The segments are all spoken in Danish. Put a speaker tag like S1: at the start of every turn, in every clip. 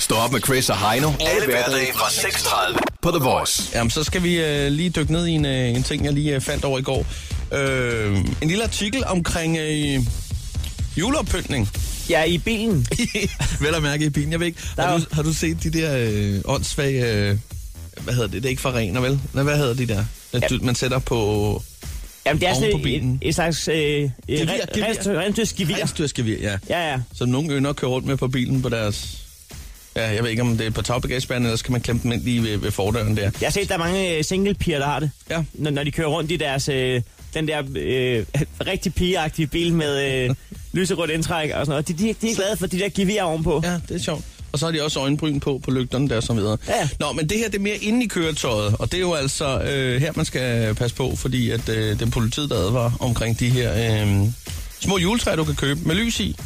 S1: Stå op med Chris og Heino. Alle hverdage fra 6.30 på The Voice.
S2: Jamen, så skal vi øh, lige dykke ned i en, øh, en ting, jeg lige øh, fandt over i går. Øh, en lille artikel omkring øh, juleoppyntning.
S3: Jeg er i bilen.
S2: Vel at mærke i bilen, jeg ved ikke.
S3: Der er
S2: Har
S3: jo-
S2: du, har du set de der øh, åndssvage... Øh, hvad hedder det? Det er ikke farener, vel? Nå, Hvad hedder de der? At du, man sætter på...
S3: Jamen, det er
S2: Oven på
S3: sådan et,
S2: bilen.
S3: et, et slags øh, øh,
S2: Gevir, gevir.
S3: rensdyrsgevir.
S2: Rensdyrskevir, ja.
S3: Ja, ja.
S2: Som nogle ynder kører rundt med på bilen på deres... Ja, jeg ved ikke, om det er på tagbagagebærene, eller skal man klemme dem ind lige ved, ved fordøren der.
S3: Jeg har set, der er mange øh, singlepiger, der har det.
S2: Ja.
S3: Når, når de kører rundt i deres... Øh, den der øh, rigtig pigeagtige bil med øh, lyserødt indtræk og sådan noget. De, de, de er glade for de der gevier ovenpå.
S2: Ja, det er sjovt. Og så har de også øjenbryn på, på lygterne der og så videre.
S3: Ja.
S2: Nå, men det her det er mere inde i køretøjet, og det er jo altså øh, her, man skal passe på, fordi at, øh, det er politiet, der advarer omkring de her øh, små juletræer, du kan købe med lys i.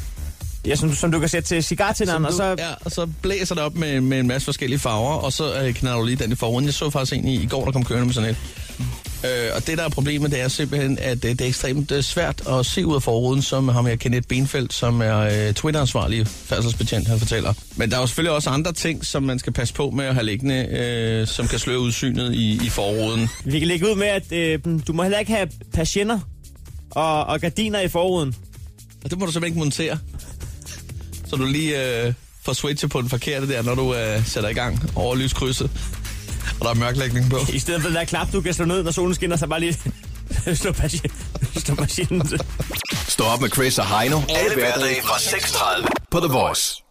S3: Ja, som, som du kan sætte til cigartænderen, og
S2: du,
S3: så...
S2: ja, og så blæser det op med, med en masse forskellige farver, og så øh, knaller du lige den i forhånden. Jeg så faktisk en i, i går, der kom kørende med sådan et. Øh, og det, der er problemet, det er simpelthen, at øh, det er ekstremt øh, svært at se ud af forruden, som ham her Kenneth Benfeldt, som er øh, Twitter-ansvarlig færdselsbetjent, han fortæller. Men der er jo selvfølgelig også andre ting, som man skal passe på med at have liggende, øh, som kan sløre udsynet i, i forruden.
S3: Vi kan lægge ud med, at øh, du må heller ikke have patienter og, og gardiner i forruden.
S2: Og det må du simpelthen ikke montere. Så du lige øh, får switchet på den forkerte der, når du øh, sætter i gang over lyskrydset. Og der er mørklægning på.
S3: I stedet for den der klap, du kan slå ned, når solen skinner, så bare lige slå, patient, slå patienten til.
S1: Stå op med Chris og Heino. Alle hverdage fra 6.30 på The Voice.